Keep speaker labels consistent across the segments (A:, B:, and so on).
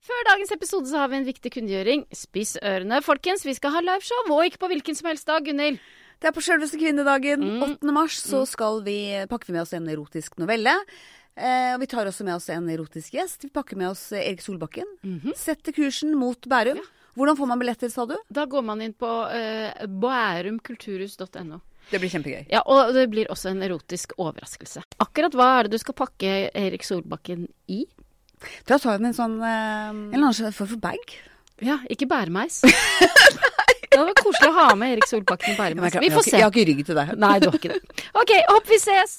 A: Før dagens episode så har vi en viktig kunngjøring. Spiss ørene, folkens. Vi skal ha liveshow, og ikke på hvilken som helst dag, Gunhild.
B: Det er på selveste kvinnedagen.
A: Mm.
B: 8. mars så skal vi, eh, pakker vi med oss en erotisk novelle. Eh, og vi tar også med oss en erotisk gjest. Vi pakker med oss eh, Erik Solbakken. Setter kursen mot Bærum. Hvordan får man billetter, sa du?
A: Da går man inn på eh, bærumkulturhus.no.
B: Det blir kjempegøy.
A: Ja, og det blir også en erotisk overraskelse. Akkurat hva er det du skal pakke Erik Solbakken i?
B: Da tar vi med en sånn eh, En eller annen form for bag.
A: Ja, ikke bæremeis. det var koselig å ha med Erik Solbakken i bæremeis. Vi får se.
B: Jeg har ikke rygg til deg.
A: Nei, du har ikke det. OK, håper vi ses!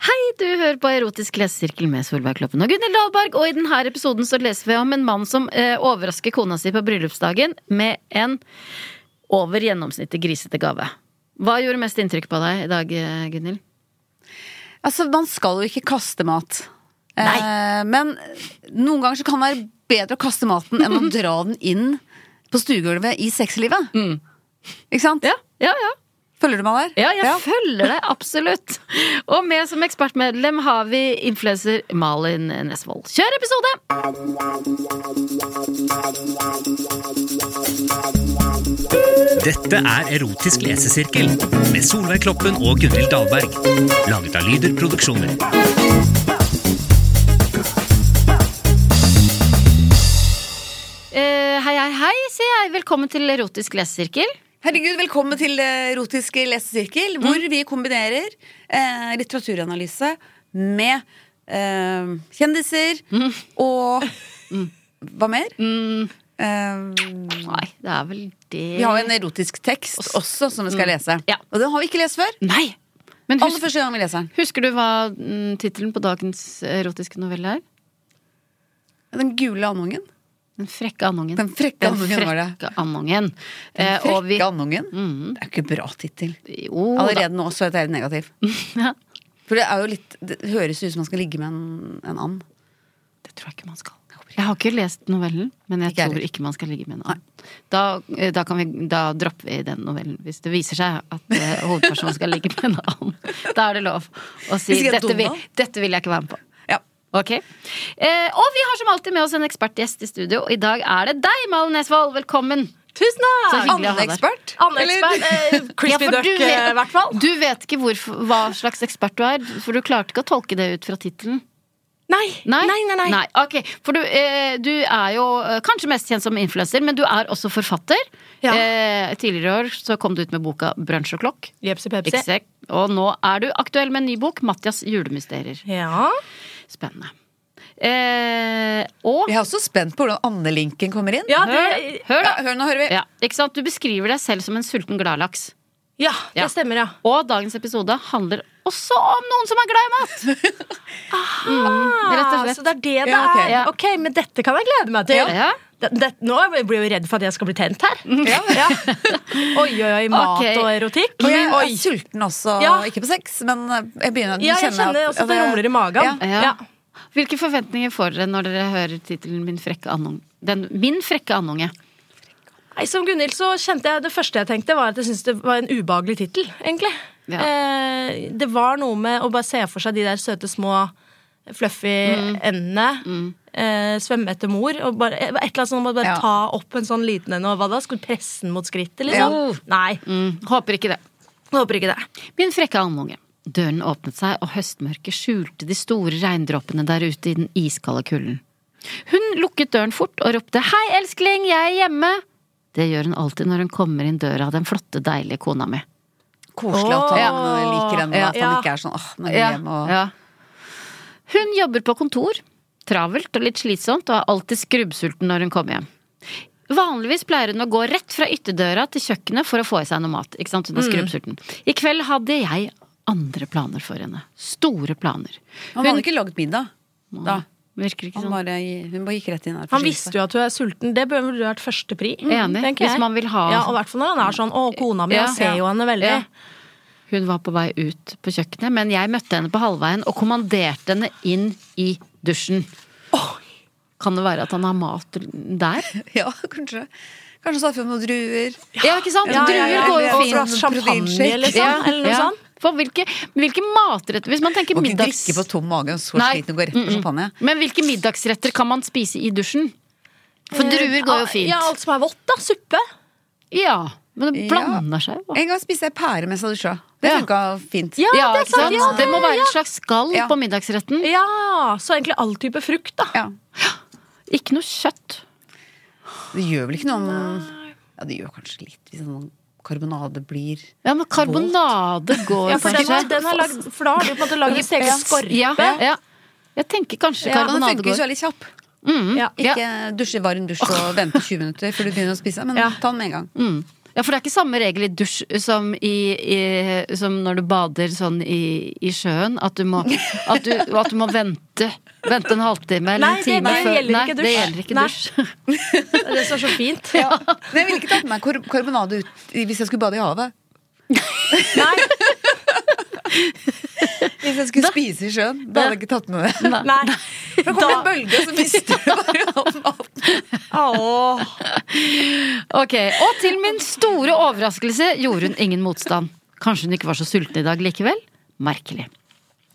A: Hei, du hører på Erotisk lesesirkel med Solveig Kloppen og Gunhild Dahlberg, og i denne episoden så leser vi om en mann som eh, overrasker kona si på bryllupsdagen med en over gjennomsnittet grisete gave. Hva gjorde mest inntrykk på deg i dag, eh, Gunhild?
B: Altså, man skal jo ikke kaste mat.
A: Nei.
B: Eh, men noen ganger så kan det være bedre å kaste maten enn å dra den inn på stuegulvet i sexlivet. Ikke sant?
A: ja, ja.
B: Følger du meg der?
A: Ja, jeg følger deg absolutt. Og med som ekspertmedlem har vi influenser Malin Nesvold. Kjør episode!
C: Dette er Erotisk lesesirkel med Solveig Kloppen og Gunhild Dahlberg. Laget av Lyder Produksjoner.
A: Eh, hei, hei, hei, sier jeg. Velkommen til Erotisk lesesirkel.
B: Herregud, velkommen til eh, Erotisk lesesirkel, hvor vi kombinerer eh, litteraturanalyse med eh, kjendiser og Hva mer? Eh,
A: Nei, det er vel det
B: vi har jo en erotisk tekst også som vi skal lese.
A: Ja.
B: Og den har vi ikke lest før.
A: Nei! Men
B: Aller
A: husk,
B: første gang vi leser den.
A: husker du hva mm, tittelen på dagens erotiske novelle er?
B: Den gule andungen.
A: Den frekke andungen.
B: Den frekke andungen var det.
A: frekke andungen.
B: Den
A: Eh,
B: frekke
A: og vi-
B: andungen. Det er jo ikke bra tittel.
A: Jo, da.
B: Allerede nå så er det negativ.
A: Ja,
B: For det er jo litt Det høres ut som man skal ligge med en, en and.
A: det tror jeg ikke man skal. Jeg har ikke lest novellen, men jeg
B: Ikke heller.
A: tror ikke man skal ligge med en annen. Da, eh, da, kan vi, da dropper vi den novellen, hvis det viser seg at eh, hovedpersonen skal ligge med en annen. Da er det lov å si
B: Hvis de er
A: dette vil,
B: dumme.
A: dette vil jeg ikke være med på.
B: Ja.
A: Ok. Eh, og vi har som alltid med oss en ekspertgjest i studio, og i dag er det deg, Malen Nesvold. Velkommen!
D: Tusen
A: Så
D: takk!
A: hyggelig å ha deg.
B: Andekspert?
D: Andekspert. Eh,
A: Ja,
D: crispy
A: for
D: duck,
A: du
D: eh, i
A: vet-
D: hvert fall.
A: Du vet ikke hvorfor, hva slags ekspert du er, for du klarte ikke å tolke det ut fra tittelen.
D: Nei. Nei, nei, nei.
A: ok. For du, eh, du er jo eh, kanskje mest kjent som influenser, men du er også forfatter.
D: Ja.
A: Eh, tidligere i år så kom du ut med boka 'Brunsj og klokk'.
D: Jepsi
A: Ikke
D: pepsi.
A: se- Og nå er du aktuell med en ny bok, 'Mathias julemysterier'.
D: Ja.
A: Spennende. Eh, og
B: Jeg er også spent på hvordan andelinken kommer inn.
D: Ja,
A: Hør,
D: det,
A: hør
B: Ja,
A: da!
B: hør, nå hører vi.
A: Ja, ikke sant? Du beskriver deg selv som en sulten gladlaks.
D: ja,
A: Ja.
D: det stemmer, ja.
A: Og dagens episode handler også om noen som er glad i mat! rett og slett.
D: Ah, Så det er det det
B: Ja, ok.
D: er.
A: Ja.
D: Ok, men dette kan jeg glede meg til.
A: Ja.
D: Det, det, nå blir jeg jo redd for at jeg skal bli tent her. Ja. Oi, oi, oi. Mat
A: Ok.
D: og erotikk.
B: Og jeg
D: Oi.
B: er sulten også.
D: Ja.
B: Ikke på sex, men eh, jeg begynner
D: Ja, jeg kjenner også at det rumler i magen.
A: Ja. Hvilke forventninger får dere når dere hører tittelen Min frekke andunge? Den, min frekke andunge.
D: Nei, Som Gunhild så kjente jeg det første jeg tenkte, var at jeg syntes det var en ubehagelig tittel, egentlig.
A: Ja.
D: Eh, det var noe med å bare se for seg de der søte, små, fluffy
A: Mm.
D: endene. Eh, svømme etter mor. Og bare, et eller annet sånn, om å bare
B: Ja.
D: ta opp en sånn liten en, og hva da? Skulle presse den mot skrittet,
B: Ja.
D: liksom? Nei,
A: Mm, håper ikke det.
D: jeg håper ikke det.
A: Min frekke andunge. Døren åpnet seg, og høstmørket skjulte de store regndråpene der ute i den iskalde kulden. Hun lukket døren fort og ropte Hei, elskling, jeg er hjemme! Det gjør hun alltid når hun kommer inn døra av den flotte, deilige kona mi.
B: Koselig at han
D: Åh.
B: liker henne, og at han
D: Ja.
B: ikke er sånn åh, nå er jeg hjemme og
A: ja. Hun jobber på kontor. Travelt og litt slitsomt, og er alltid skrubbsulten når hun kommer hjem. Vanligvis pleier hun å gå
E: Mm.
A: rett fra ytterdøra til kjøkkenet for å få i seg noe mat. Ikke sant? Hun er skrubbsulten. I kveld hadde jeg andre planer for henne. Store planer.
E: Han hadde ikke lagd middag da.
A: Virker ikke
E: Han
A: sånn.
E: bare, hun bare gikk rett inn her.
D: Han visste jo at du er sulten. Det bør vel vært første pri.
A: Enig.
D: tenker
A: Hvis
D: jeg.
A: man vil ha-
D: Ja, og i hvert fall når han er sånn 'Å, kona mi',
A: Ja.
D: jeg ser jo henne veldig.
A: Ja. Hun var på vei ut på kjøkkenet, men jeg møtte henne på halvveien og kommanderte henne inn i dusjen. Kan det være at han har mat der?
E: Ja, kanskje. Kanskje satt vi om noen druer.
A: Ja, ikke sant?
E: Ja, ja,
A: Druer
E: ja,
A: går jo
E: ja, ja.
A: fint.
E: Sånn
D: Champagne,
E: proteinshake.
D: liksom?
A: sånn,
D: Eller noe sånt.
A: For hvilke, hvilke matretter Hvis man tenker
E: Må ikke
A: middags...
E: drikke på tom mage og så
A: Nei.
E: sliten og gå rett på champagne.
A: Men hvilke middagsretter kan man spise i dusjen? For druer går jo fint.
D: Eh, ah, Ja, alt som er vått, da. Suppe.
A: Ja, men det
E: Ja.
A: blander seg jo.
E: En gang spiste jeg pære mens jeg dusja. Det
A: Ja.
E: funka fint.
D: Ja,
A: Ja,
D: det er
A: ikke
D: sant,
A: sant?
D: ja,
A: Det må være et slags skall
E: Ja.
A: på middagsretten.
D: Ja, så egentlig all type frukt, da.
E: Ja.
A: Ikke noe kjøtt.
E: Det gjør vel ikke noe om Ja, det gjør kanskje litt hvis
B: sånn
E: noen karbonade blir
A: Ja, men karbonade går
D: Ja,
A: jo
D: for, den
A: kanskje.
D: er, den er lagd, for da har du på en måte lagd en stekt skorpe.
A: Ja, ja. Jeg tenker kanskje
E: Ja, den
A: karbonade
E: funker hvis
A: går.
E: du er litt kjapp.
D: Ja.
E: Ikke dusje i varm dusj og vente 20 minutter før du begynner å spise, men
D: Ja.
E: ta den med en gang.
A: Mm. Ja, For det er ikke samme regel i dusj som, i, i, som når du bader sånn i, i sjøen. At du må, at du, at du må vente. Vente en halvtime eller
D: Nei,
A: en
D: det,
A: time
D: det
A: før.
D: gjelder ikke
A: Nei,
D: dusj.
A: det gjelder ikke
D: Nei.
A: dusj.
D: Det er det som er så fint.
E: Men jeg ville ikke tatt med meg kar karbonade ut i- hvis jeg skulle bade i havet.
D: Nei,
E: Hvis jeg skulle spise i sjøen. Da hadde jeg ikke tatt med det.
D: nei.
E: For det kom en bølge, så mister du bare all maten.
D: Åh.
A: Ok, Og til min store overraskelse gjorde hun ingen motstand. Kanskje hun ikke var så sulten i dag likevel? Merkelig.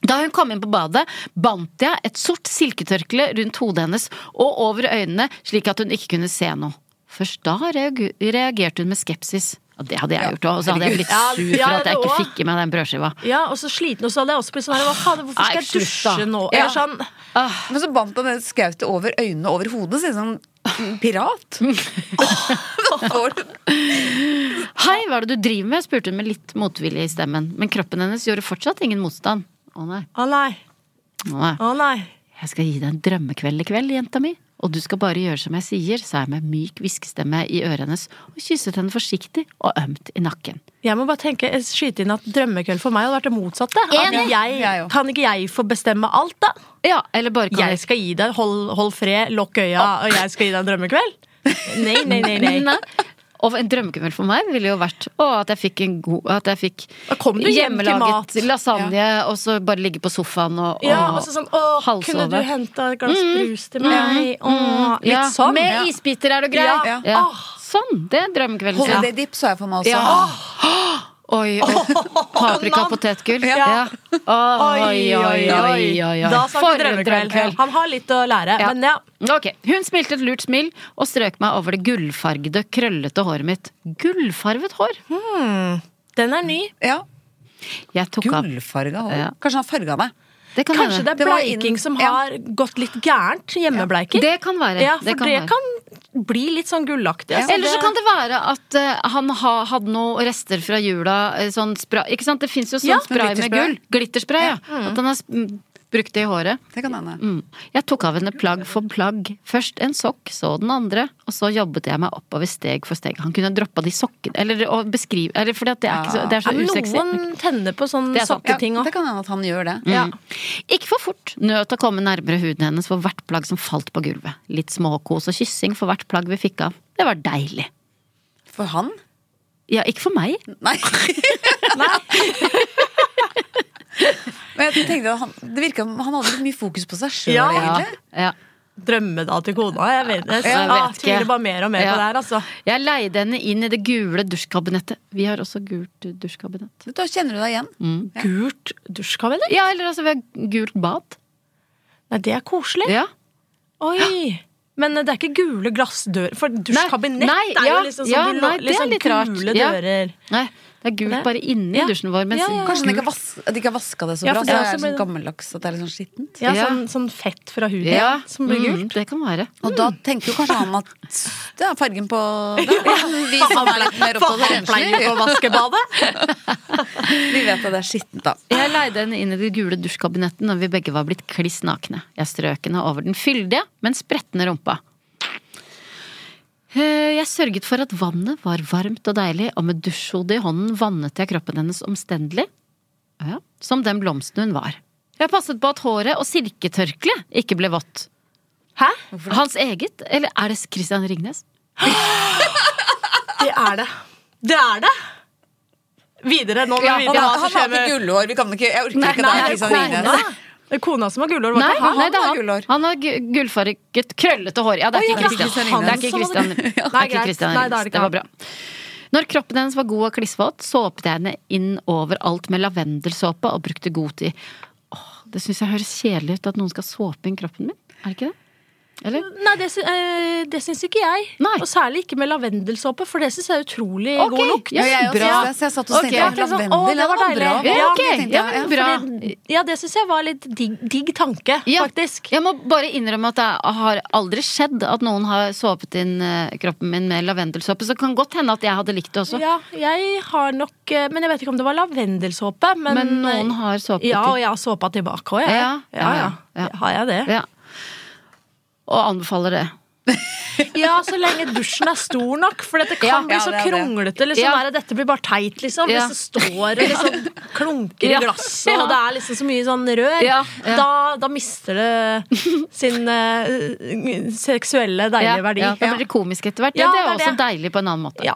A: Da hun kom inn på badet, bandt jeg et sort silketørkle rundt hodet hennes og over øynene slik at hun ikke kunne se noe. Først da reagu- reagerte hun med skepsis. Ja, det hadde jeg gjort òg, og så hadde jeg blitt
D: herregud.
A: sur
D: Ja,
A: for
D: ja,
A: at jeg ikke
D: det også.
A: fikk i meg den brødskiva.
D: Ja, og så sliten, og så hadde jeg også blitt sånn her, hva faen, hvorfor
A: Nei,
D: skal jeg
A: slutt, da.
D: dusje nå?
A: Ja.
D: Eller sånn,
E: Men så bandt han det skautet over øynene og over hodet, så er det sånn pirat. Åh, da får du
A: Hei, hva er det du driver med? spurte hun med litt motvilje i stemmen. Men kroppen hennes gjorde fortsatt ingen motstand. Å nei.
D: å nei,
A: Å nei.
D: å nei.
A: Jeg skal gi deg en drømmekveld i kveld, jenta mi. Og du skal bare gjøre som jeg sier, sa jeg med myk hviskestemme i øret hennes og kysset henne forsiktig og ømt i nakken.
D: Jeg må bare tenke, skyte inn at drømmekveld for meg hadde vært det motsatte. At
A: Enig.
E: Jeg
D: jeg,
E: også.
D: kan ikke jeg få bestemme alt da?
A: Ja, eller bare kan
D: Jeg skal gi deg, hold, hold fred, lokk øya, og jeg skal gi deg en drømmekveld? Nei, nei, nei, nei.
A: Nei. Og en drømmekveld for meg ville jo vært å, at jeg fikk en god At jeg fikk
D: Da kom du hjem til mat.
A: hjemmelaget lasagne, og så bare ligge på sofaen og, og
D: Ja, og så sånn, åh, kunne du
A: Halsove.
D: hente et glass brus til meg? Åh,
A: Mm. Ja,
D: litt sånn.
A: Med isbiter, er du grei?
D: Ja.
A: Ja.
D: Ah.
A: Sånn! Det er drømmekvelden. sin.
E: Holiday dip, så jeg for meg også.
A: Ja. Oi, oi. Paprika og potetgull. Ja. Oi, oi, oi, oi.
D: Da
A: For en
D: snakker vi drømmekveld. Han har litt å lære,
A: Ja.
D: men ja.
A: Ok, Hun smilte et lurt smil og strøk meg over det gullfargede, krøllete håret mitt. Gullfarvet hår?
D: Den er ny.
E: Ja.
A: Jeg tok av.
E: Gullfarga hår.
A: Ja.
E: Kanskje han farga meg.
A: Det kan
D: Kanskje
A: hende.
D: det er
E: Det var inn-
D: bleiking som
E: ja.
D: har gått litt gærent. Hjemmebleiking.
A: Det kan være.
D: Ja, for
A: Det
D: det
A: kan
D: kan,
A: være.
D: bli litt sånn gullaktig. altså.
A: Eller så kan det være at eh, han ha, hadde noen rester fra jula. eh, Sånn spray, ikke sant? Det fins jo sånn
D: Ja,
A: spray med
E: glitterspray.
A: gull. Glitterspray, ja. At han har s- mm, brukt det i håret.
E: Det kan hende.
A: Mm. Jeg tok av henne plagg for plagg. Først en sokk, så den andre. Og så jobbet jeg meg oppover steg for steg. Han kunne droppa de sokkene Eller å beskrive eller, For det er, ikke så, det er så
D: Ja,
A: usexy.
D: Ah. Noen tenner på sånn
A: Det er sant.
E: Ja,
D: sokketing òg.
E: det kan hende at han gjør det.
D: Ja.
A: Ikke for fort. Nøt å komme nærmere huden hennes for hvert plagg som falt på gulvet. Litt småkos og kyssing for hvert plagg vi fikk av. Det var deilig.
E: For han?
A: Ja, ikke for meg.
E: Nei. Men jeg tenkte at han, det virka som han hadde litt mye fokus på seg sjøl,
D: Ja.
E: egentlig.
A: Ja.
D: Drømme da til kona. Jeg vet, jeg,
A: jeg
D: ah,
A: vet ikke.
D: tviler bare mer og mer
A: Ja.
D: på det her, altså.
A: Jeg leide henne inn i det gule dusjkabinettet. Vi har også gult eh, dusjkabinett.
E: Da kjenner du deg igjen.
D: Gult dusjkabinett?
A: Ja, eller altså, vi har gult bad.
D: Nei, det er koselig.
A: Ja.
D: Oi! Men eh, det er ikke gule glassdører, for dusjkabinett
A: nei,
D: er jo
A: ja,
D: liksom
A: ja,
D: sånn blå-
A: nei, det er
D: liksom
A: litt rart.
D: gule
A: Ja.
D: dører.
A: Nei, det er gult
D: Det?
A: bare inni
D: Ja.
A: dusjen vår. Mens
D: Ja, ja, ja.
E: Kanskje de
A: gult-
E: ikke, har vas at de ikke har vaska det så
D: Ja,
E: bra, så
D: for det
E: det
D: er
E: er
D: også
E: sånn
D: blir-
E: gammeldags at det er litt sånn skittent.
D: Ja,
A: Ja.
D: Sånn, sånn fett fra huden
A: ja.
D: som blir gult.
A: Mm, det kan være.
E: Og da tenker jo kanskje han at det er fargen på det er Vi som er litt mer opptatt av renslig,
D: å vaske badet.
E: vi vet at det er skittent, da.
A: Jeg leide henne inn i det gule dusjkabinettet når vi begge var blitt kliss nakne. Jeg strøk henne over den fyldige, men spretne rumpa. Eh, Jeg sørget for at vannet var varmt og deilig, og med dusjhodet i hånden vannet jeg kroppen hennes omstendelig. Ja. Som den blomsten hun var. Jeg passet på at håret og silketørkleet ikke ble vått.
D: Hæ?
A: Hans eget, eller er det Christian Ringnes?
D: Det er det. Det er det! Videre. Nå må
A: Ja,
D: vi
E: Han,
D: videre.
E: har-
D: hva
E: han
D: som
E: har
D: skjer
E: ikke
D: med-
E: gullhår. Vi kan ikke, jeg orker ikke
D: Nei,
E: da.
D: det er
E: Kristian Ringnes.
D: kona. Det er kona som har gullhår. var
A: Nei,
D: det ikke han?
A: nei, det
E: har
A: er han.
E: gullhår.
A: Han har gu- gullfarget, krøllete hår. Ja, det er
E: Å, ja,
A: ikke
E: det er
A: Christian.
E: ikke
A: Det er ikke
D: han som
A: Christian.
D: hadde-
A: Det er
D: Nei,
A: ikke
D: greit.
A: Christian
D: Nei, da
A: Ringnes.
D: er det
A: Det
D: ikke
A: var
D: han.
A: bra. Når kroppen hennes var god og klissvåt, såpet jeg henne inn over alt med lavendelsåpe og brukte god tid. Åh, det syns jeg høres kjedelig ut at noen skal såpe inn kroppen min. Er det ikke det? Eller?
D: Nei, det, sy- eh, det syns ikke jeg.
A: Nei.
D: Og særlig ikke med lavendelsåpe, for det syns jeg er utrolig
A: Ok,
D: god lukt.
A: ja,
E: Ja, jeg også
A: bra.
E: synes det, så jeg satt og
A: Ok,
E: tenkte
A: jeg tenkte
D: sånn, å,
E: lavendel.
D: det
E: ja,
D: var
E: det var bra.
D: deilig.
A: Ja, ok,
E: tenkte jeg,
A: ja, men bra.
D: Fordi- Ja, det syns jeg var litt digg, digg tanke,
A: Ja,
D: faktisk.
A: Jeg må bare innrømme at det har aldri skjedd at noen har såpet inn eh, kroppen min med lavendelsåpe, så det kan godt hende at jeg hadde likt det også.
D: Ja, jeg har nok eh, Men jeg vet ikke om det var lavendelsåpe. Men, eh,
A: Men noen har såpet
D: Ja,
A: til.
D: og jeg har såpa tilbake òg, jeg.
A: Ja, ja,
D: ja,
A: ja.
D: Har jeg det?
A: Ja. Og anbefaler det.
D: Ja, så lenge dusjen er stor nok, for det kan
E: Ja,
D: bli
E: ja,
D: så
E: det er det.
D: kronglete. Liksom,
A: Ja.
D: der, dette blir bare teit, liksom.
A: Ja.
D: Hvis det står og liksom, klunker
A: Ja.
D: i glasset,
A: Ja.
D: og det er liksom så mye sånn rør,
A: Ja, ja.
D: Da, da mister det sin eh, seksuelle, deilige verdi.
A: Ja, da blir det komisk etter hvert. Ja,
D: Ja,
A: det er
D: det er
A: også
D: det.
A: deilig på en annen måte.
D: Ja.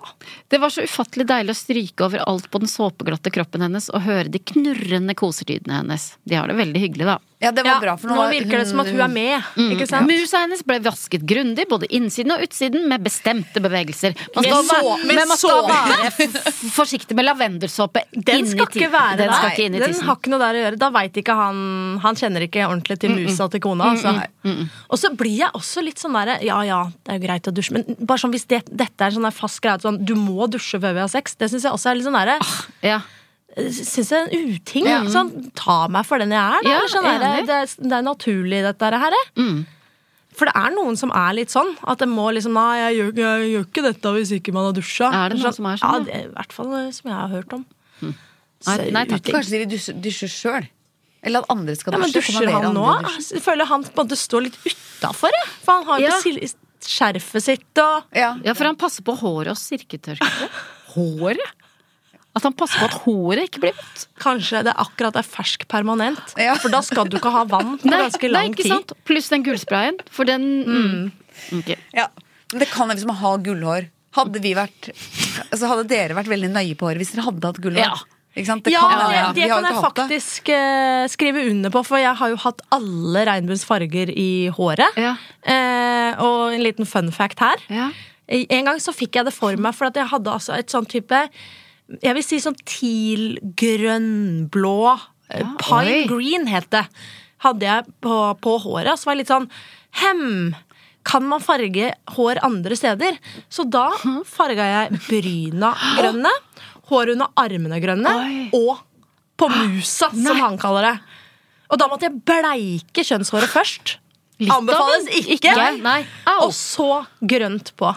A: Det var så ufattelig deilig å stryke over alt på den såpeglatte kroppen hennes og høre de knurrende koselydene hennes. De har det veldig hyggelig, da.
E: Ja, det var
D: Ja,
E: bra. For
D: nå Mm. virker det som at hun er med, ikke sant?
A: Musa hennes ble vasket grundig, både innsiden og utsiden, med bestemte bevegelser. Man
D: Med
A: skal,
D: så-
A: være-
D: med
A: men man skal
D: så-
A: være f- f- forsiktig med lavendelsåpe
D: Den skal ikke være
A: den
D: der.
A: skal ikke inn i
D: den
A: tissen.
D: har ikke noe der å gjøre. Da veit ikke han Han kjenner ikke ordentlig til musa til kona. Altså. Og så blir jeg også litt sånn derre Ja ja, det er jo greit å dusje, men bare sånn hvis det, dette er en sånn der fast greie at sånn, du må dusje før vi har sex, det syns jeg også er litt sånn derre
A: Ja.
D: Syns jeg er en uting. Sånn, ta meg for den jeg er, da.
A: Ja,
D: eller sånn derre,
A: enig. Mm.
D: det, er- det er naturlig, dette her. For det er noen som er litt sånn. At det må liksom Nei, jeg gjør, jeg gjør ikke dette hvis ikke man har dusja.
A: Er det noen som er sånn,
D: Ja,
A: ja? Mm.
D: det er, I hvert fall eh, som jeg har hørt om.
A: Nei, nei takk.
E: Kanskje de vil dusje- dusje sjøl? Eller at andre skal
D: Ja, men
E: dusje?
D: dusjer han nå? Jeg føler han på en måte står litt utafor, jeg. For han har jo
A: Ja.
D: på sil- skjerfet sitt og
E: Ja.
A: Ja, for han passer på håret og silketørkleet. Håret? At han passer på at håret ikke blir vått.
D: Kanskje det akkurat er fersk permanent.
E: Ja.
D: For da skal du ikke ha vann på ganske lang
A: ikke
D: tid.
A: sant? Pluss den gullsprayen, for den mm. Ok.
E: Ja. Men det kan jeg hvis man har gullhår. Hadde vi vært altså Hadde dere vært veldig nøye på håret hvis dere hadde hatt gullhår?
A: Ja.
E: Ikke sant?
D: Ja,
E: være,
D: det,
E: ja.
D: det
E: Vi har jo
D: kan jeg
E: ikke hatt det.
D: faktisk eh, skrive under på, for jeg har jo hatt alle regnbuens farger i håret.
A: Ja.
D: Eh, og en liten fun fact her.
A: Ja.
D: Eh, En gang så fikk jeg det for meg, for at jeg hadde altså et sånn type Jeg vil si sånn teal-grønnblå eh,
A: Ja,
D: Pine
A: oi.
D: green het det. Hadde jeg på, på håret. Og så var jeg litt sånn Hem! Kan man farge hår andre steder? Så da farga jeg bryna grønne, hår under armene grønne og på
A: Ah,
D: musa, som han kaller det. Og da måtte jeg bleike kjønnshåret først.
A: av
D: Anbefales
A: en-
D: ikke.
A: Nei, nei. Au.
D: Og så grønt på.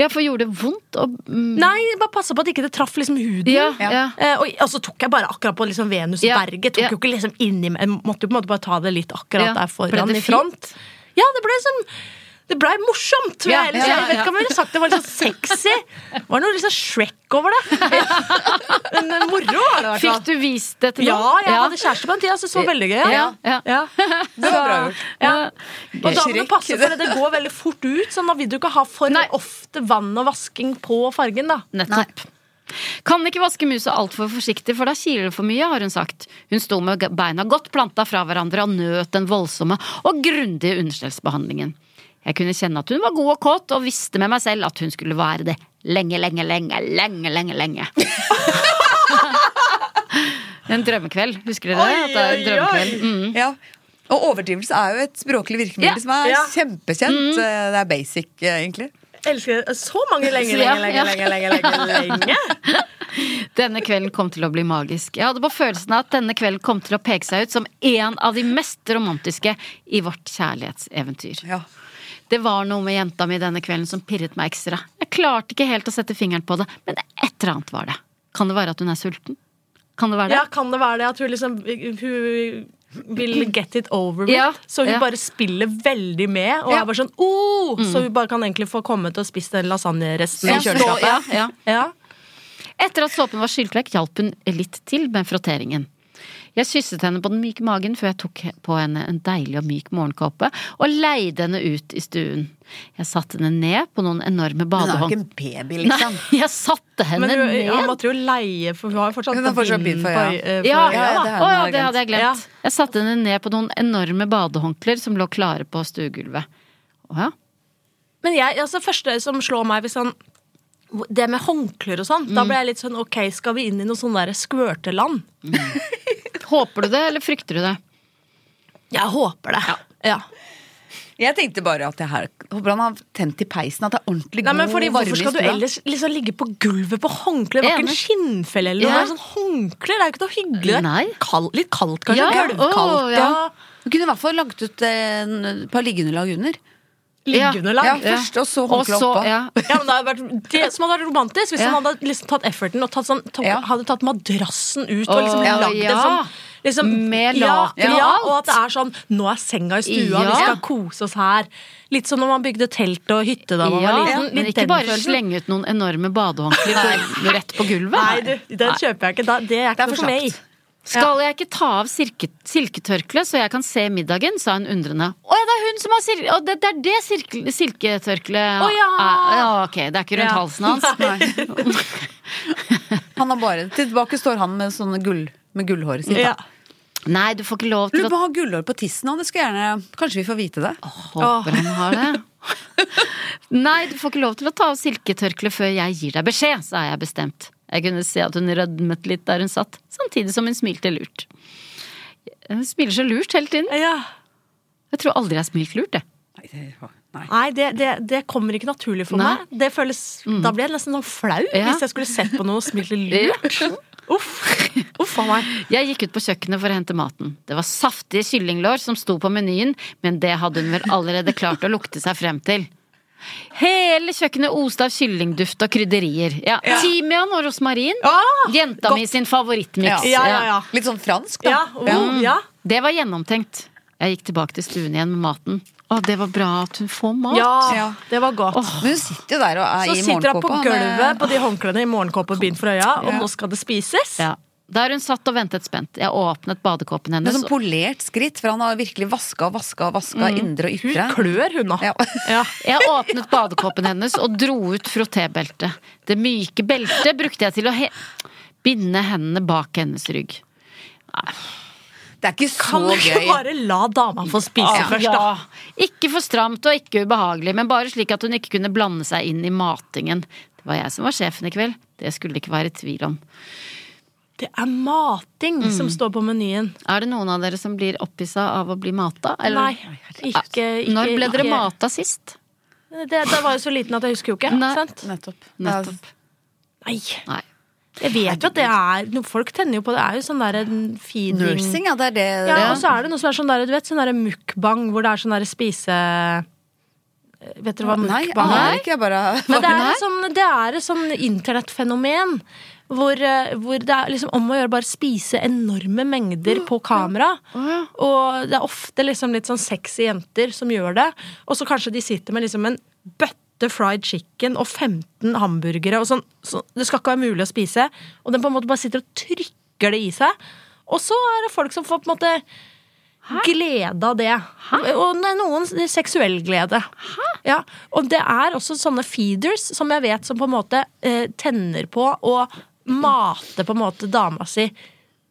A: Ja, for gjorde det vondt å mm,
D: Nei, bare passe på at ikke det traff liksom huden.
A: Ja, ja.
D: Eh, og, og så tok jeg bare akkurat på liksom Venusberget.
A: Ja,
D: Tok
A: ja.
D: jo ikke liksom inni meg. Jeg måtte jo på en måte bare ta det litt akkurat
A: Ja.
D: der
A: Ble
D: foran
A: det
D: i front.
A: fint?
D: Ja, det ble liksom Det blei morsomt. vil
A: Ja,
D: jeg, ærlig
A: ja,
D: si. jeg vet
A: ja.
D: ikke om jeg ville sagt det var litt sånn sexy. Det var noe liksom Shrek over det. Men men moro var det i hvert fall.
A: Fikk du vist det til
D: Ja,
A: noen?
D: jeg hadde kjæreste på den tida, så det så veldig gøy.
A: Ja, ja.
E: Det var bra gjort.
D: Ja. Og da må du
E: Skrekk.
D: passe for det. Det går veldig fort ut, så da vil du ikke ha for
A: Nei.
D: ofte vann og vasking på fargen, da.
A: Nettopp. Kan ikke vaske musa altfor forsiktig, for da kiler det for mye, har hun sagt. Hun sto med beina godt planta fra hverandre og nøt den voldsomme og grundige understellsbehandlingen. Jeg kunne kjenne at hun var god og kåt, og visste med meg selv at hun skulle være det lenge, lenge, lenge, lenge, lenge, lenge. En drømmekveld, husker dere det? At det er en drømmekveld. Mm.
E: Ja. Og overdrivelse er jo et språklig virkemiddel som er
D: Ja. Mm.
E: kjempekjent. Eh, Det er basic, eh, egentlig.
D: Elsker det. Så mange lenge,
A: Ja,
D: lenge,
A: ja.
D: lenge, lenge, lenge, lenge, lenge.
A: Denne kvelden kom til å bli magisk. Jeg hadde på følelsen av at denne kvelden kom til å peke seg ut som en av de mest romantiske i vårt kjærlighetseventyr.
E: Ja.
A: Det var noe med jenta mi denne kvelden som pirret meg ekstra. Jeg klarte ikke helt å sette fingeren på det, men et eller annet var det. Kan det være at hun er sulten? Kan det være det?
D: Ja, kan det være det at hun liksom Hun vil get it over with.
A: Ja,
D: så hun
A: ja.
D: bare spiller veldig med. Og
E: Ja.
D: er bare sånn oh! Så hun bare kan egentlig få komme til å spise den lasagneresten.
E: Ja,
D: i kjøleskapet.
A: Mm. ja, ja.
D: Ja.
A: Etter at såpen var skylt vekk, hjalp hun litt til med frotteringen. Jeg kysset henne på den myke magen før jeg tok på henne en deilig og myk morgenkåpe og leide henne ut i stuen. Jeg satte henne ned på noen enorme
E: Hun er jo ikke
A: badehånd...
E: en baby,
A: Nei,
E: liksom.
A: jeg satte henne
D: Men du,
A: ned!
D: han måtte jo leie, for hun har jo fortsatt
E: Hun har fortsatt bind for, ja.
D: øy- eh,
A: Ja,
D: øya,
A: ja,
E: ja,
A: det,
E: det hadde
A: å, ja,
E: jeg
A: det
E: glemt.
A: hadde jeg glemt. Jeg satte henne ned på noen enorme badehåndklær som lå klare på stuegulvet. Å ja.
D: Men jeg, altså første som slår meg hvis han det med håndklær og sånn, da
A: Mm.
D: ble jeg litt sånn OK, skal vi inn i noe sånn derre skvørteland?
A: Håper du det, eller frykter du det?
D: Jeg håper det. Ja.
E: Jeg tenkte bare at det her Håper han har tent i peisen, at det er ordentlig
D: Nei,
E: god
D: men
A: Oh,
D: fordi
E: varme
D: Hvorfor skal du ellers liksom ligge på gulvet på håndklær? Det var ikke en skinnfelle eller noe.
A: Ja.
D: Det er sånn håndklær, det er jo ikke noe hyggelig. Det er
A: Nei.
D: Kald, litt kaldt, kanskje?
A: Ja,
D: Gulvkaldt.
A: å,
D: ja.
A: ja.
E: Du kunne i hvert fall lagt ut eh, en- et par liggeunderlag under.
D: Liggende
E: Ja,
D: lag. Ja.
E: først, og så håndkle
A: Og så-
E: oppå.
A: ja.
D: men det, hadde vært, det som hadde vært romantisk, hvis
A: Ja.
D: han hadde liksom tatt efforten og tatt sånn, to,
E: Ja.
D: hadde tatt madrassen ut og
A: Å,
D: liksom lagd en
A: ja.
D: sånn liksom,
A: Med
D: ja,
A: laken og
D: ja,
A: alt.
D: og at det er sånn Nå er senga i stua,
A: Ja.
D: vi skal kose oss her. Litt som når man bygde telt og hytte da man
A: Ja,
D: var liten.
A: men
D: Litt
A: ikke
D: den
A: bare
D: følelsen.
A: slenge ut noen enorme badehåndklær rett på gulvet.
D: Nei, du, den kjøper jeg ikke. Da, det er ikke
E: for
D: noe for meg.
E: slapt.
A: Skal jeg ikke ta av sirke, silketørkleet så jeg kan se middagen? sa hun undrende. Å ja, det er hun som har silke... Å, det, det er det sirkel- silketørkleet
D: Å, ja.
A: er- ja, ok, det er ikke rundt
D: Ja.
A: halsen hans.
E: Han har bare, tilbake står han med sånne gull med gullhåret sitt.
D: Ja.
E: da.
A: Nei, du får ikke lov til å
E: Lurer på om han har gullhår på tissen han. Det skulle gjerne, kanskje vi får vite det.
A: Håper han har det. Nei, du får ikke lov til å ta av silketørkleet før jeg gir deg beskjed, sa jeg bestemt. Jeg kunne se at hun rødmet litt der hun satt, samtidig som hun smilte lurt. Hun smiler så lurt hele tiden.
D: Ja.
A: Jeg tror aldri jeg har smilt lurt, jeg.
E: Nei, det, nei.
D: Nei, det, det, det kommer ikke naturlig for
A: Nei. Mm.
D: meg. Det føles, Da blir jeg nesten sånn flau
A: Ja.
D: hvis jeg skulle sett på noe og smilt litt lurt. Uff. Uff a meg.
A: Jeg gikk ut på kjøkkenet for å hente maten. Det var saftige kyllinglår som sto på menyen, men det hadde hun vel allerede klart å lukte seg frem til. Hele kjøkkenet oste av kyllingduft og krydderier. Ja, Timian og rosmarin.
D: Ah,
A: Jenta mi sin favorittmiks.
D: Ja, ja, ja.
E: Litt sånn fransk, da.
D: Ja, oh, ja.
A: Det var gjennomtenkt. Jeg gikk tilbake til stuen igjen med maten. Å, det var bra at hun får mat.
D: ja,
E: Ja.
D: det var godt.
E: Men hun sitter jo der og er
D: Så
E: i
D: sitter hun på
E: morgenkåpa.
D: gulvet
E: med-
D: på de håndklærne i morgenkåpe og bind for øya, og nå skal det spises.
A: Ja. Der hun satt og ventet spent. Jeg åpnet badekåpen
E: Med
A: hennes.
E: sånn polert skritt, for han har virkelig vaska og vaska og vaska indre og ytre.
D: Klør hun nå.
E: Ja.
D: Ja.
A: Jeg åpnet badekåpen hennes og dro ut frotébeltet. Det myke beltet brukte jeg til å he binde hendene bak hennes rygg.
E: Det er ikke så
D: Kan du ikke
E: gøy.
D: bare la dama få spise først, Ah, da?
A: Ja. Ikke for stramt og ikke ubehagelig, men bare slik at hun ikke kunne blande seg inn i matingen. Det var jeg som var sjefen i kveld. Det skulle det ikke være tvil om.
D: Det er mating som
E: Mm.
D: står på menyen.
A: Er det noen av dere som blir opphissa av å bli mata? eller?
D: Nei, ikke, ikke
A: Når ble dere
D: ikke-
A: mata sist?
D: Det, da var jeg så liten at jeg husker jo ikke.
A: Nei.
D: Sant?
E: Nettopp.
A: Nettopp.
D: Nei.
A: Nei.
D: Jeg vet jo at det er no, Folk tenner jo på det. Det er jo sånn derre feeding
E: Nursing, ja. Det er det.
D: Ja, Og så er det noe som er sånn der, du vet, sånn derre mukbang, hvor det er sånn derre spise Vet dere hva
E: sånn. Nei, ah, jeg
D: mukbang er?
E: aner ikke. Jeg bare
D: Men det er et sånn, det er et sånn internettfenomen. Hvor, eh, hvor det er liksom om å gjøre bare spise enorme mengder på kamera. Og det er ofte liksom litt sånn sexy jenter som gjør det. Og så kanskje de sitter med liksom en bøtte fried chicken og 15 hamburgere. Og sånn, så det skal ikke være mulig å spise. Og den på en måte bare sitter og trykker det i seg. Og så er det folk som får på en måte glede av det. Og ne- noen seksuell glede. Ja. Og det er også sånne feeders som jeg vet som på en måte eh, tenner på og mater på en måte dama si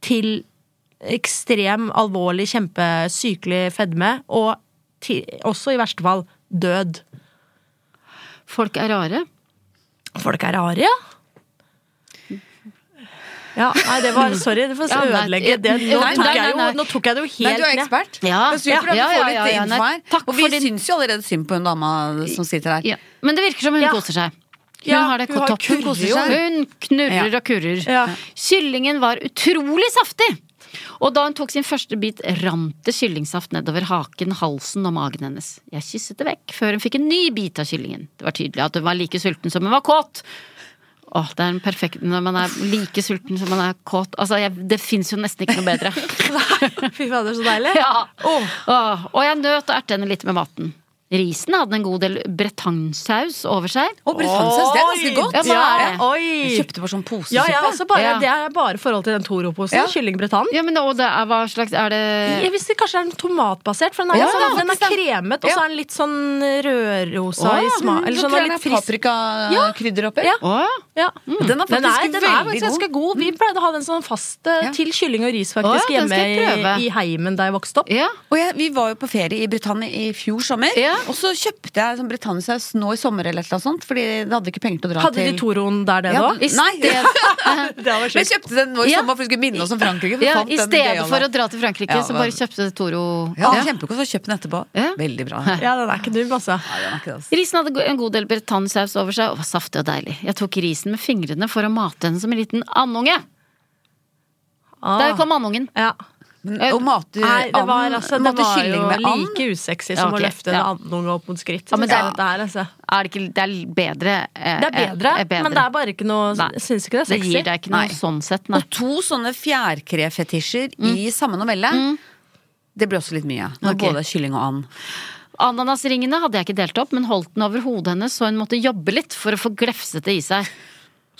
D: til ekstrem, alvorlig, kjempesykelig fedme, og ti- også i verste fall død.
A: Folk er rare.
D: Folk er rare, ja. Ja, nei, det var Sorry, du får
A: Ja, nei,
D: ødelegge det. Nå
A: nei,
D: tok
A: nei,
D: jeg
A: nei,
D: jo-
A: nei.
D: nå tok jeg det jo
E: Nei,
D: helt
E: du er
D: ned.
E: ekspert.
A: Ja.
E: Det er supert at vi
A: Ja,
E: får
A: ja,
E: litt
A: ja, ja,
E: info
A: nei.
E: her.
A: Takk
E: og vi
A: for din-
E: syns jo allerede synd på hun dama som sitter her.
A: Ja. Men det virker som hun
D: Ja.
A: koser seg. Hun
D: Ja,
A: har det
D: hun har
A: godt opp. Hun,
D: kurrer
E: jo.
A: hun knurrer
E: Ja.
A: og kurrer.
D: Ja.
A: Kyllingen var utrolig saftig! Og da hun tok sin første bit, rant det kyllingsaft nedover haken, halsen og magen hennes. Jeg kysset det vekk før hun fikk en ny bit av kyllingen. Det var tydelig at hun var like sulten som hun var kåt. Åh, det er en perfekt Når man er like sulten som man er kåt Altså, jeg, det fins jo nesten ikke noe bedre.
D: Fy fader, så deilig.
A: Ja.
D: Åh.
A: Åh, og jeg nøt og ertet henne litt med maten. Risen hadde en god del bretansaus over seg.
E: Og bretanssaus, det er ganske
D: Oi!
E: godt.
A: Ja, hva er det?
E: Jeg
D: Oi!
E: kjøpte bare sånn posesuppe.
D: Ja, jeg også bare,
A: Ja.
D: Det er bare i forhold til den Toro-posen.
E: Ja. Eh.
D: Kylling Bretann.
A: Ja, men det, og det er, hva slags er det
D: Jeg visste kanskje den er tomatbasert, for den er,
E: Ja,
D: litt sånn,
E: ja,
D: den er
E: faktisk den.
D: kremet, og så
E: Ja.
D: er den litt sånn rødrosa i
E: Mm,
D: smak. Eller
E: så
D: sånn
E: tror jeg det
D: den er litt
E: er
D: frisk.
E: paprikakrydder oppi.
D: Ja.
A: Å, ja.
D: Ja.
E: Mm. Den er
D: Den er,
E: faktisk
D: den er
E: veldig
D: faktisk
E: god.
D: ganske
E: Mm.
D: god. Vi pleide å ha den sånn fast eh,
E: Ja.
D: til kylling og ris
A: Å,
D: faktisk
A: ja, den
D: hjemme
A: skal jeg prøve.
D: i, i heimen da jeg vokste opp.
A: ja.
E: Og jeg, vi var jo på ferie i Britannia i fjor sommer,
A: Ja.
E: og så kjøpte jeg sånn britannisaus nå i sommer, eller et eller annet sånt, fordi det hadde ikke penger til å dra
D: Hadde de
E: til
D: Toroen der nede
E: Ja,
D: òg?
E: i Nei.
D: Det hadde vært
E: Men jeg
D: sjukt.
E: kjøpte den nå i
A: Ja.
E: sommer for vi skulle minne oss om Frankrike. for
A: ja,
E: fant
A: I
E: den
A: stedet
E: gøyale.
A: for å dra til Frankrike,
E: Ja,
A: så bare
E: men-
A: kjøpte Toro
E: ja, Kjempegod. Så kjøp den etterpå.
A: Ja.
E: Veldig bra.
D: Ja, den er ikke dum, altså.
E: Nei, den er ikke det, altså.
A: Risen hadde go- en god del bretansaus over seg, og var saftig og deilig. Jeg tok risen med fingrene for å mate henne som en liten andunge.
D: Ah.
A: Der kom andungen. Eh,
D: ja.
E: Men å mate
D: Nei, det var,
E: and,
D: altså, det
E: mate
D: var
E: kylling
D: jo
E: med and
D: like usexy som
A: Ja, ok,
D: å løfte
A: ja.
D: en andunge opp mot skritt.
A: men
D: synes jeg,
A: det er-
D: dette her, altså.
A: Er det, ikke, det er bedre. eh,
D: det er bedre,
A: eh, bedre.
D: men det er bare ikke noe
A: Nei.
D: Syns ikke det er
A: Det
D: sexy.
A: gir deg ikke noe
E: Nei.
A: sånn sett, nei.
E: Og to sånne fjærkrefetisjer i samme novelle. Det ble også litt mye. Når
A: Ok.
E: både er kylling og and.
A: Ananasringene hadde jeg ikke delt opp, men holdt den over hodet hennes, så hun måtte jobbe litt for å få glefsete i seg.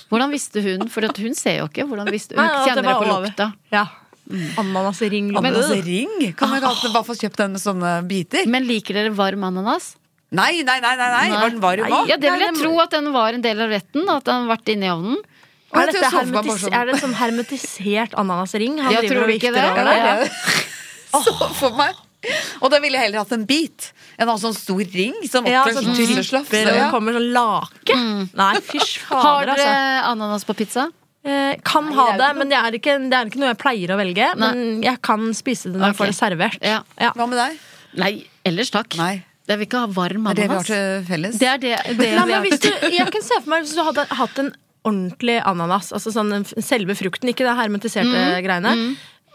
A: Hvordan visste hun? For at hun ser jo ikke. Hvordan visste, hun
D: Nei, at
A: kjenner det
D: var
A: på
D: over.
A: lukta.
D: Ja. Mm. Ananasring.
E: Men,
D: lukter.
E: altså, ring! Kan man ikke alltid bare få kjøpt den med sånne eh, biter?
A: Men liker dere varm ananas?
E: Nei, nei, nei! nei, nei. Var den varm òg?
A: Ja, det vil
D: Nei,
A: jeg
D: den-
A: tro at den var en del av retten. At den har vært inne i ovnen.
E: Og
D: Er,
E: jeg tror
D: dette
E: jeg så for meg bare
D: hermetis
E: sånn-
D: er det sånn hermetisert ananasring? Han
A: Ja,
D: driver
A: tror
D: og
A: du ikke
D: vikter
A: det?
D: over
A: Ja,
D: det.
A: ja.
E: Så for meg. Og da ville jeg heller hatt en bit enn å ha sånn stor ring som
D: Ja,
E: oppfører
D: sånn
E: sånn tusseslapp.
D: tupper,
E: Så,
D: og det
E: ja.
D: kommer sånn lake. Nei, fysj
A: Har
D: fader,
A: dere
D: altså.
A: ananas på pizza?
D: Eh, kan ha det, men det er, ikke, det er ikke noe jeg pleier å velge. Men jeg kan spise det når jeg
A: Ok.
D: får det servert.
A: Ja.
D: Ja.
E: Hva med deg?
A: Nei, ellers takk.
E: Nei.
A: Jeg vil ikke ha varm
E: Det er det vi
A: ananas.
E: har til felles.
A: Det er det, det vi
D: Nei, men
A: har
D: hvis du, jeg kan se for meg hvis du hadde hatt en ordentlig ananas, altså sånn den f- selve frukten, ikke det hermetiserte
E: Mm.
D: greiene.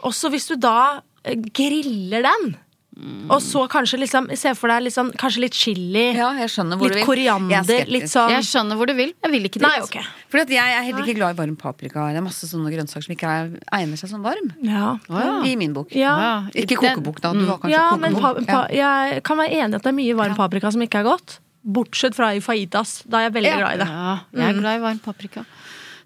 D: Også hvis du da eh, griller den,
E: Mm.
D: og så kanskje liksom, se for deg liksom, kanskje litt chili,
E: Ja, jeg skjønner hvor
D: litt
E: du vil. Jeg er
D: koriander,
E: skeptisk.
D: litt sånn
A: Jeg skjønner hvor du vil. Jeg vil ikke dit.
D: Nei, ok.
E: Fordi at jeg er heller ikke glad i varm paprika. Det er masse sånne grønnsaker som ikke er, egner seg som varm.
D: Ja.
E: I min bok.
D: Ja.
A: Ja, i
E: Ikke
A: den-
E: kokebok, da. Du har kanskje
D: ja, men pa,
E: kokebok.
D: pa,
E: Ja.
D: jeg kan være enig i at det er mye varm paprika som ikke er godt. Bortsett fra i fajitas. Da er jeg veldig
E: Ja.
D: glad i det.
A: Ja, jeg er glad i varm paprika.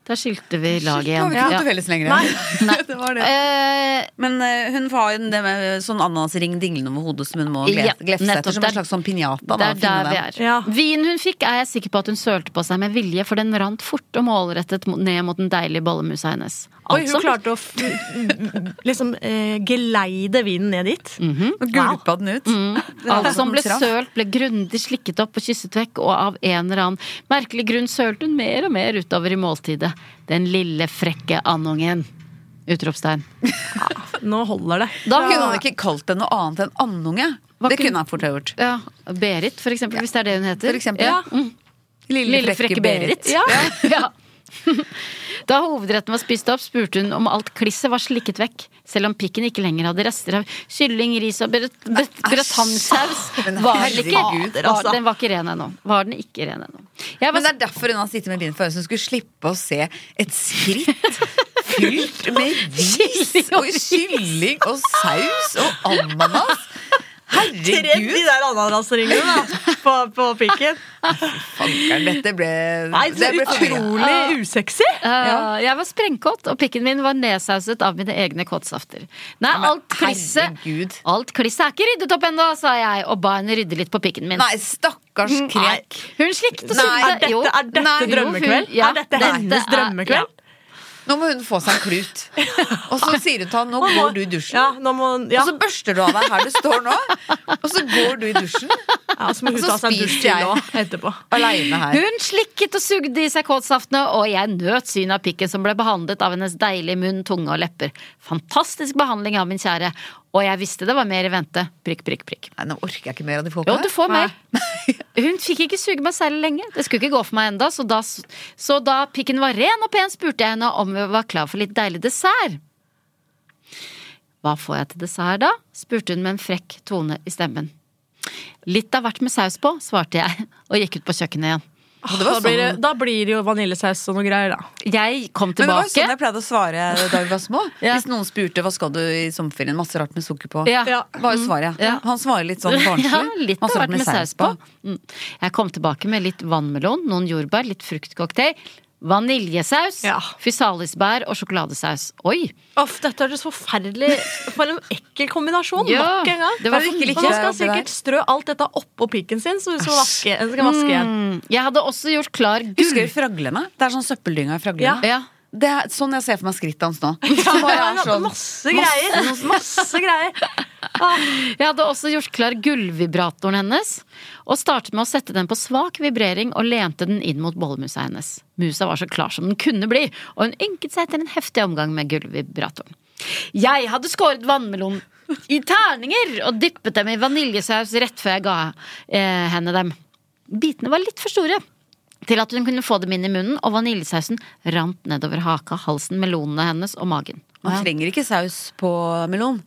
A: Der skilte vi laget
E: Da har
A: igjen.
E: Mm. vi ikke noe
A: Ja.
E: til felles lenger. det var det.
A: Eh,
E: Men eh, hun har jo det med sånn ananasring dinglende over hodet som hun må gle-
A: Ja,
E: glefse
A: nettopp.
E: etter. Som
A: Det
E: en
A: er-
E: slags sånn pinjata.
A: det er der vi er.
D: Ja.
A: Vinen hun fikk, er jeg sikker på at hun sølte på seg med vilje, for den rant fort og målrettet mo- ned mot den deilige bollemusa hennes.
D: Oi, hun
A: Altså,
D: klarte å f liksom eh, geleide vinen ned dit.
E: Og gulpa den ut. Det er
A: alt
E: sånn
A: altså, som ble
E: straff.
A: sølt, ble grundig slikket opp og kysset vekk, og av en eller annen merkelig grunn sølte hun mer og mer utover i måltidet. Den lille, frekke andungen. Utropstegn.
D: Nå holder det.
A: Da
E: Kunne han ikke kalt det noe annet enn andunge?
A: Hva
E: Det
A: kunne-
E: kunne han fort ha gjort.
A: Ja, Berit, for eksempel, hvis det er det hun heter.
E: For eksempel.
A: Ja.
E: Lille, frekke Berit.
A: Ja. Ja. Da hovedretten var spist opp, spurte hun om alt klisset var slikket vekk. Selv om pikken ikke lenger hadde rester av kylling, ris og bret- bret- bretansaus.
E: Men
A: Var den ikke,
E: herregud,
A: var,
E: altså.
A: den var ikke ren ennå. Var den ikke ren ennå. Jeg
E: Men
A: var
E: det er derfor hun har sittet med bind for øyet, så hun skulle slippe å se et skritt fylt med ris og kylling og saus og ananas.
D: Tredd
E: Herregud!
D: de der ananasringene da, på, på pikken.
E: Fankeren, dette ble
D: Nei, så
E: det ble feil.
D: utrolig usexy.
A: Eh, Jeg var sprengkåt, og pikken min var nedsauset av mine egne kåtsafter. Nei, alt klisset
E: herregud.
A: Alt klisset er ikke ryddet opp ennå, sa jeg, og ba henne rydde litt på pikken min.
E: Nei, stakkars
A: Mm,
E: krek.
A: Hun slikket og
E: Nei,
A: sugde.
E: er dette-
A: Jo.
D: er dette
A: Nei, jo, hun-
D: drømmekveld?
A: ja,
D: Er dette hennes
A: er-
D: drømmekveld?
E: Nå må hun få seg en klut. Og så sier hun til han nå
D: Nå må-
E: går du i dusjen.
D: Ja, nå må, ja.
E: Og så børster du av deg her du står nå, og så går du i dusjen
D: ja, så må hun
E: så
D: ta seg en
E: spiser
D: dusj
E: jeg.
D: til nå etterpå.
E: aleine her.
A: Hun slikket og sugde i seg kåtsaftene, og jeg nøt synet av pikken som ble behandlet av hennes deilige munn, tunge og lepper. Fantastisk behandling av min kjære, og jeg visste det var mer i vente. Prikk, prikk, prikk.
E: Nei, nå orker jeg ikke mer av de
A: Jo,
E: folka
A: du
E: her.
A: får mer. Hun fikk ikke suge meg særlig lenge. Det skulle ikke gå for meg enda, så da, så da pikken var ren og pen, spurte jeg henne om vi var klar for litt deilig dessert. Hva får jeg til dessert, da? spurte hun med en frekk tone i stemmen. Litt av hvert med saus på, svarte jeg, og gikk ut på kjøkkenet igjen.
E: Og det var
D: Da blir det,
E: sånn-
D: da blir det jo vaniljesaus og noe greier, da.
A: Jeg kom
E: Men det var
A: tilbake.
E: jo sånn jeg pleide å svare da vi var små.
A: Ja.
E: Hvis noen spurte hva skal du i sommerferien, masse rart med sukker på.
A: Ja.
D: Ja.
E: Var jo svaret.
A: Ja.
E: Han svarer litt sånn barnslig.
A: Ja, litt av
E: masse
A: hvert med saus på. Mm. Jeg kom tilbake med litt vannmelon, noen jordbær, litt fruktcocktail, vaniljesaus,
D: Ja.
A: fisalisbær og sjokoladesaus. Oi!
D: Uff, dette høres forferdelig For en ekkel kombinasjon.
A: Ja,
D: Nok en gang.
A: det var
E: for mye.
D: Og man skal
E: Det der.
D: sikkert strø alt dette oppå piken sin, så hun skal vaske, hun skal vaske igjen.
A: Mm. Jeg hadde også gjort klar gull.
E: Husker du fraglene? Det er sånn søppeldynga i fraglene.
A: Ja.
E: Det er sånn jeg ser for meg skrittet hans nå. Som bare
D: Ja,
E: er sånn.
D: masse greier. Masse greier.
A: Jeg hadde også gjort klar gullvibratoren hennes og startet med å sette den på svak vibrering og lente den inn mot bollemusa hennes. Musa var så klar som den kunne bli, og hun ynket seg etter en heftig omgang med gullvibratoren. Jeg hadde skåret vannmelon i terninger og dyppet dem i vaniljesaus rett før jeg ga eh, henne dem. Bitene var litt for store til at hun kunne få dem inn i munnen, og vaniljesausen rant nedover haka, halsen, melonene hennes og magen.
E: Man trenger ikke saus på melon.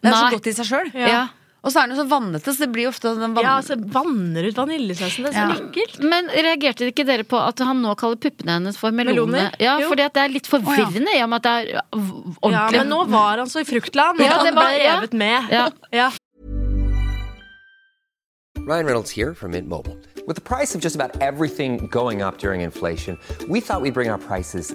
E: Det er
A: Nei.
E: så godt i seg sjøl.
A: Ja.
E: Og så er den jo så vannete, så det blir jo ofte den vann...
D: Ja, altså, vanner ut vaniljesausen. Det er så ekkelt.
A: Men reagerte ikke dere på at han nå kaller puppene hennes for meloner?
D: Meloner?
A: Ja,
D: Jo.
A: fordi at det er litt forvirrende i og med at det er v- ordentlig.
D: Ja, men nå var han så i fruktland, og
A: Ja, det
D: han ble
A: var- ja.
D: revet med.
A: Ja.
D: Ja.
F: Ryan Reynolds here from Mint Mobile. With the price of just about everything going up during inflation, we thought we'd bring our prices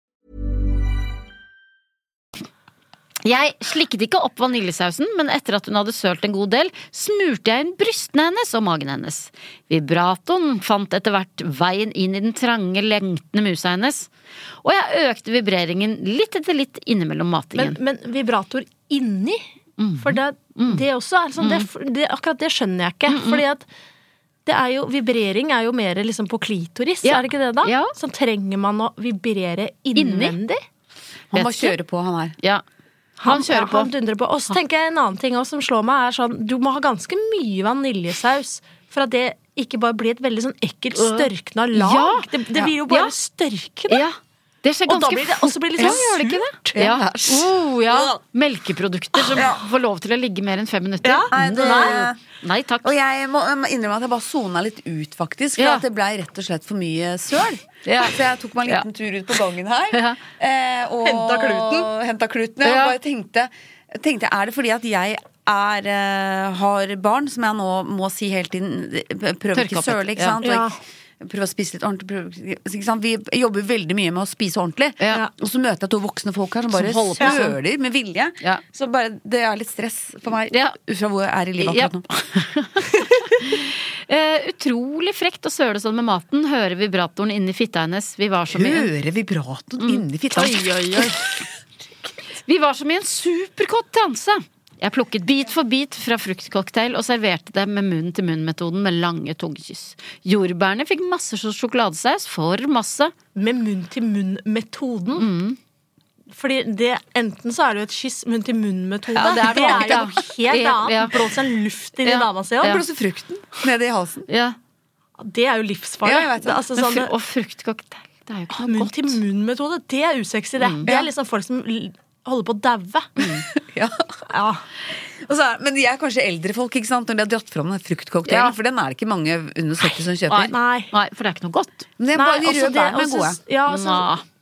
A: Jeg slikket ikke opp vaniljesausen, men etter at hun hadde sølt en god del, smurte jeg inn brystene hennes og magen hennes. Vibratoren fant etter hvert veien inn i den trange, lengtende musa hennes. Og jeg økte vibreringen litt etter litt innimellom matingen.
D: Men, men vibrator inni?
A: Mhm.
D: For det, det også er sånn det, det, Akkurat det skjønner jeg ikke.
A: Mhm.
D: Fordi at det er jo, vibrering er jo mer liksom på klitoris,
A: Ja.
D: er det ikke det da?
A: Ja.
D: Så trenger man å vibrere innvendig.
E: Han bare
A: Vet ikke.
E: kjører på, han her.
A: ja. Han kjører på.
D: Han dundrer på. Og så tenker jeg en annen ting også, som slår meg, er sånn Du må ha ganske mye vaniljesaus for at det ikke bare blir et veldig sånn ekkelt størkna lag.
A: Øh. Ja.
D: Det, det blir jo
A: Ja.
D: bare størkende.
A: Ja. Det skjer
D: Og da
A: ganske
D: blir det, og så blir det litt sånn
A: Ja, gjør det ikke
D: surt.
A: Ja.
E: Æsj.
A: Oh, ja. Melkeprodukter som får lov til å ligge mer enn fem minutter.
D: Ja.
E: Nei, det-
A: Nei. Nei takk.
E: Og jeg må jeg må innrømme at jeg bare sona litt ut, faktisk. For
A: Ja.
E: at det blei rett og slett for mye søl.
A: Ja.
E: Så jeg tok meg en liten tur ut på gangen her.
A: Ja.
E: eh, og
D: Henta kluten.
E: Henta kluten, ja.
A: Ja.
E: Og bare tenkte, tenkte Er det fordi at jeg er, eh, har barn, som jeg nå må si hele tiden Prøv
A: Tørke
E: ikke
A: opp
E: søle,
A: litt.
E: ikke sant?
D: Ja.
E: Og ikke- Prøve å spise litt ordentlig. Prøve, ikke sant? Vi jobber veldig mye med å spise ordentlig.
A: Ja.
E: Og så møter jeg to voksne folk her som bare
A: holder på sånn.
E: søler med vilje.
A: Ja.
E: Så bare, det er litt stress for meg
A: Ja.
E: ut fra hvor jeg er i livet
A: Ja.
E: akkurat nå.
A: Eh, utrolig frekt å søle sånn med maten. Høre vibratoren inni fitta hennes. Vi var som i en,
E: Høre vibratoen inni fitta.
A: vi var som i en superkåt transe. Jeg plukket bit for bit fra fruktcocktail og serverte det med munn-til-munn-metoden med lange tungekyss. Jordbærene fikk masse sj- sjokoladesaus, for masse.
D: Med munn-til-munn-metoden.
E: Mm.
D: Fordi det, Enten så er det jo et kyss munn-til-munn-metode.
E: Ja, det er noe annet,
D: jo
E: ja.
A: Ja,
D: helt
A: ja.
D: annet. Blås en luft inn
A: Ja.
D: i dama si. også.
A: Ja.
E: Blåse frukten ned i halsen.
A: Ja.
D: Det er jo livsfarlig.
E: Ja, jeg vet det.
D: Det er altså
A: Men
D: sånn-
A: fru- og fruktcocktail, det
E: ah,
A: er jo ikke noe godt.
D: Munn-til-munn-metode, det er usexy, det.
E: Mm.
D: Det er liksom folk som l- holder på å daue.
E: Ja.
D: Ja.
E: Og så er- men de er kanskje eldre folk ikke sant? når de har dratt fram den fruktcocktailen. For den er det ikke mange under 70 som kjøper.
D: Nei.
A: Nei, for det er ikke noe godt.
E: Men det er
D: Nei,
E: bare de
D: altså,
E: røde
D: det-
E: bærene er
D: altså,
E: gode.
D: s- Ja, altså,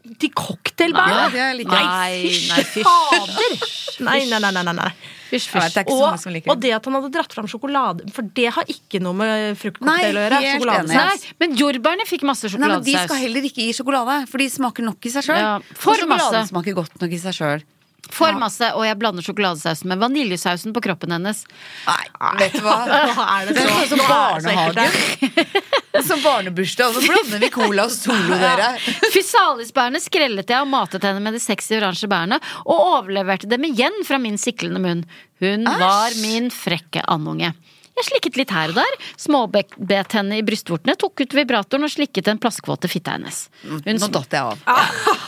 A: Nei.
D: de cocktailbærene.
E: Ja, det er like-
A: Nei, nei, fysj.
D: Fader! Nei, nei, nei. nei, nei, nei.
A: Fysj,
E: Jeg vet, det
A: fysj.
E: er ikke så
D: Og,
E: mange som liker
D: og
E: det.
D: det at han hadde dratt fram sjokolade, for det har ikke noe med
E: Nei,
D: fruktcocktail å gjøre.
E: helt
D: sjokoladesaus.
E: enig.
A: Nei, men jordbærene fikk masse
E: Nei, men
A: sjokoladesaus.
E: De skal heller ikke gi sjokolade, for de smaker nok i seg sjøl.
A: Ja, for
E: og sjokolade
A: masse.
E: smaker godt nok i seg sjøl.
A: For masse, og jeg blander sjokoladesausen med vaniljesausen på kroppen hennes.
E: Nei, vet du hva.
D: Nå er det
E: Det er
D: så,
E: sånn som
D: nå er det så ekkelt.
E: barnehage. Som barnebursdag. Og så blander vi cola og solo, dere.
A: Fisalisbærene skrellet jeg og matet henne med de sexy oransje bærene, og overleverte dem igjen fra min siklende munn. Hun var min frekke andunge. Jeg slikket litt her og der. Småbet henne i brystvortene, tok ut vibratoren og slikket den plaskvåte fitta hennes. Hun
E: Nå datt jeg av.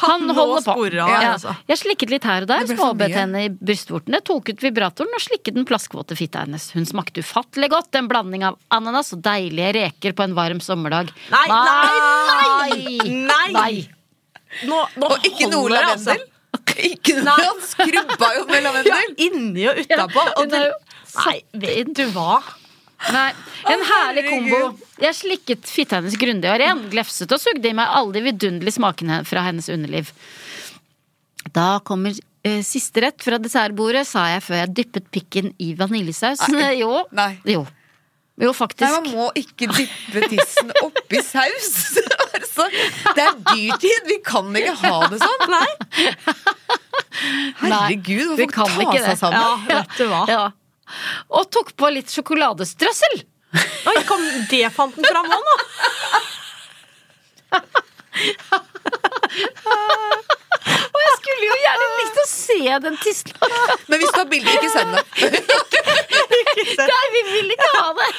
A: han
D: Nå
A: holder på.
D: sporer han,
A: Ja.
D: altså.
A: Jeg slikket litt her og der,
E: Det ble for
A: småbet
E: mye.
A: henne i brystvortene, tok ut vibratoren og slikket den plaskvåte fitta hennes. Hun smakte ufattelig godt, en blanding av ananas og deilige reker på en varm sommerdag.
D: Nei, nei,
A: nei!
D: nei!
A: nei.
D: Nå, nå
E: Og ikke noe
D: holder det, altså.
E: lavendel. Ikke noe,
D: Nei.
E: han skrubba jo med
D: Ja,
E: lavendel.
D: inni og utapå.
A: Ja,
D: og
A: hun er
D: det-
A: jo
D: Nei, vet du hva?
A: Nei, En
E: Å,
A: herlig kombo.
E: herregud.
A: Jeg slikket fitta hennes grundig og ren, glefset og sugde i meg alle de vidunderlige smakene fra hennes underliv. Da kommer eh, siste rett fra dessertbordet, sa jeg før jeg dyppet pikken i vaniljesaus. Jo.
E: Nei.
A: jo. Jo,
E: Nei, man
A: faktisk.
E: må ikke dyppe tissen oppi saus. altså, det er dyrtid. Vi kan ikke ha det sånn. Herregud,
A: vi
E: hvorfor
A: kan
E: ta
A: ikke det.
E: seg sammen?
D: Ja, vet du hva.
A: Ja. Og tok på litt sjokoladestrøssel!
D: Oi, kom, det fant den fram nå, nå.
A: Og jeg skulle jo gjerne likt å se den tissen!
E: Men hvis du har bilde, ikke send det.
A: Nei, vi vil ikke ha det!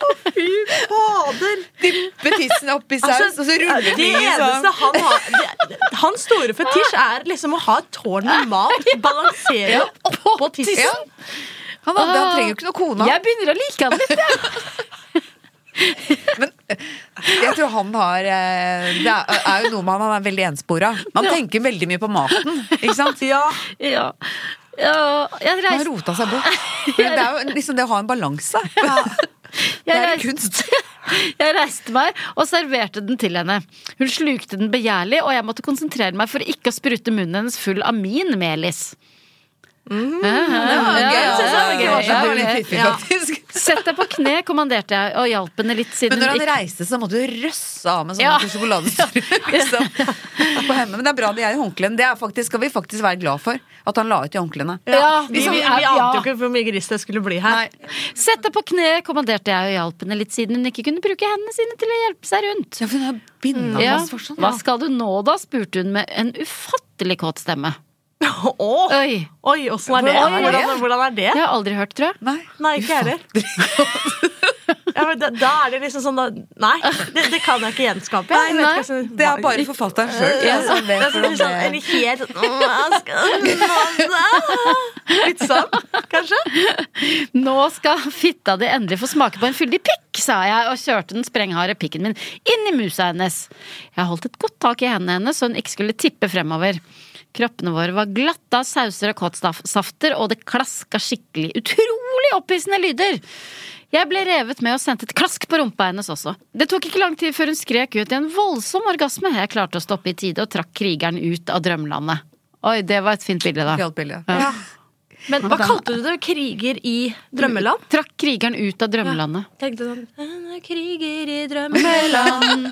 D: Fader.
E: Dyppe tissen oppi saus, og så ruller
D: det
E: den i sånn.
D: eneste han har det, Hans store fetisj er liksom å ha et tårn med mat, balansere oppå tissen.
E: Ja. Han, hadde, han trenger jo ikke noe kone.
A: Jeg begynner å like han litt, jeg.
E: Jeg tror han har eh, Det er, er jo noe med han, han er veldig enspora. Man tenker veldig mye på maten, ikke sant?
D: Ja.
A: Ja. Ja, jeg
E: Han har
A: reiste
E: rota seg bort. Men det er jo liksom det å ha en balanse. Det
A: jeg
E: er en
A: reiste-
E: kunst.
A: Jeg reiste meg og serverte den til henne. Hun slukte den begjærlig, og jeg måtte konsentrere meg for ikke å sprute munnen hennes full av min melis.
E: Ja,
A: jeg synes Mhm. det var gøy.
E: det var
A: Ja,
E: litt
A: ok.
E: fiffig,
A: Ja.
E: faktisk.
A: Sett deg på kne, kommanderte jeg, og hjalp henne litt siden
E: Men når
A: hun
E: han
A: ikke
E: reiste, så måtte du røsse av med
A: Ja.
E: sånne sjokoladestrø. Liksom. På henne. Men det er bra de er i håndklærne. Det er faktisk, skal vi faktisk være glad for. At han la ut de håndklærne.
A: Ja,
D: vi,
A: liksom,
D: vi, vi
A: ja.
D: ante jo ikke hvor mye gris det skulle bli her.
A: Sett deg på kne, kommanderte jeg og hjalp henne litt siden hun ikke kunne bruke hendene sine til å hjelpe seg rundt.
E: Ja, for hun har binda
A: Ja.
E: masse for sånn.
A: Hva skal du nå, da? spurte hun med en ufattelig kåt stemme.
D: Åh.
A: Oi.
D: Oi, åssen er
A: Hvordan er
D: det?
A: det?
D: Hvordan, hvordan er det?
A: Det har jeg aldri hørt, tror jeg.
E: Nei.
D: Nei, ikke jeg heller. Ja, men da, da er det liksom sånn da, Nei, det, det kan jeg ikke gjenskape. Jeg
A: Nei,
D: vet ikke hva som-
E: Det er bare forfatteren sjøl.
D: Ja, så- det er sånn, sånn, en helt sånn, «Åh, jeg skal- Litt sånn, kanskje?
A: Nå skal fitta di endelig få smake på en fyldig pikk, sa jeg og kjørte den sprengharde pikken min inn i musa hennes. Jeg holdt et godt tak i hendene hennes så hun ikke skulle tippe fremover. Kroppene våre var glatte av sauser og kåtsafter, og det klaska skikkelig. Utrolig opphissende lyder! Jeg ble revet med og sendte et klask på rumpa hennes også. Det tok ikke lang tid før hun skrek ut i en voldsom orgasme. Jeg klarte å stoppe i tide og trakk krigeren ut av drømmelandet. Oi, det var et fint bilde, da.
E: Ja.
D: Men hva kalte du det? Kriger i drømmeland?
A: Trakk krigeren ut av drømmelandet.
D: Tenkte sånn «En Kriger i drømmeland.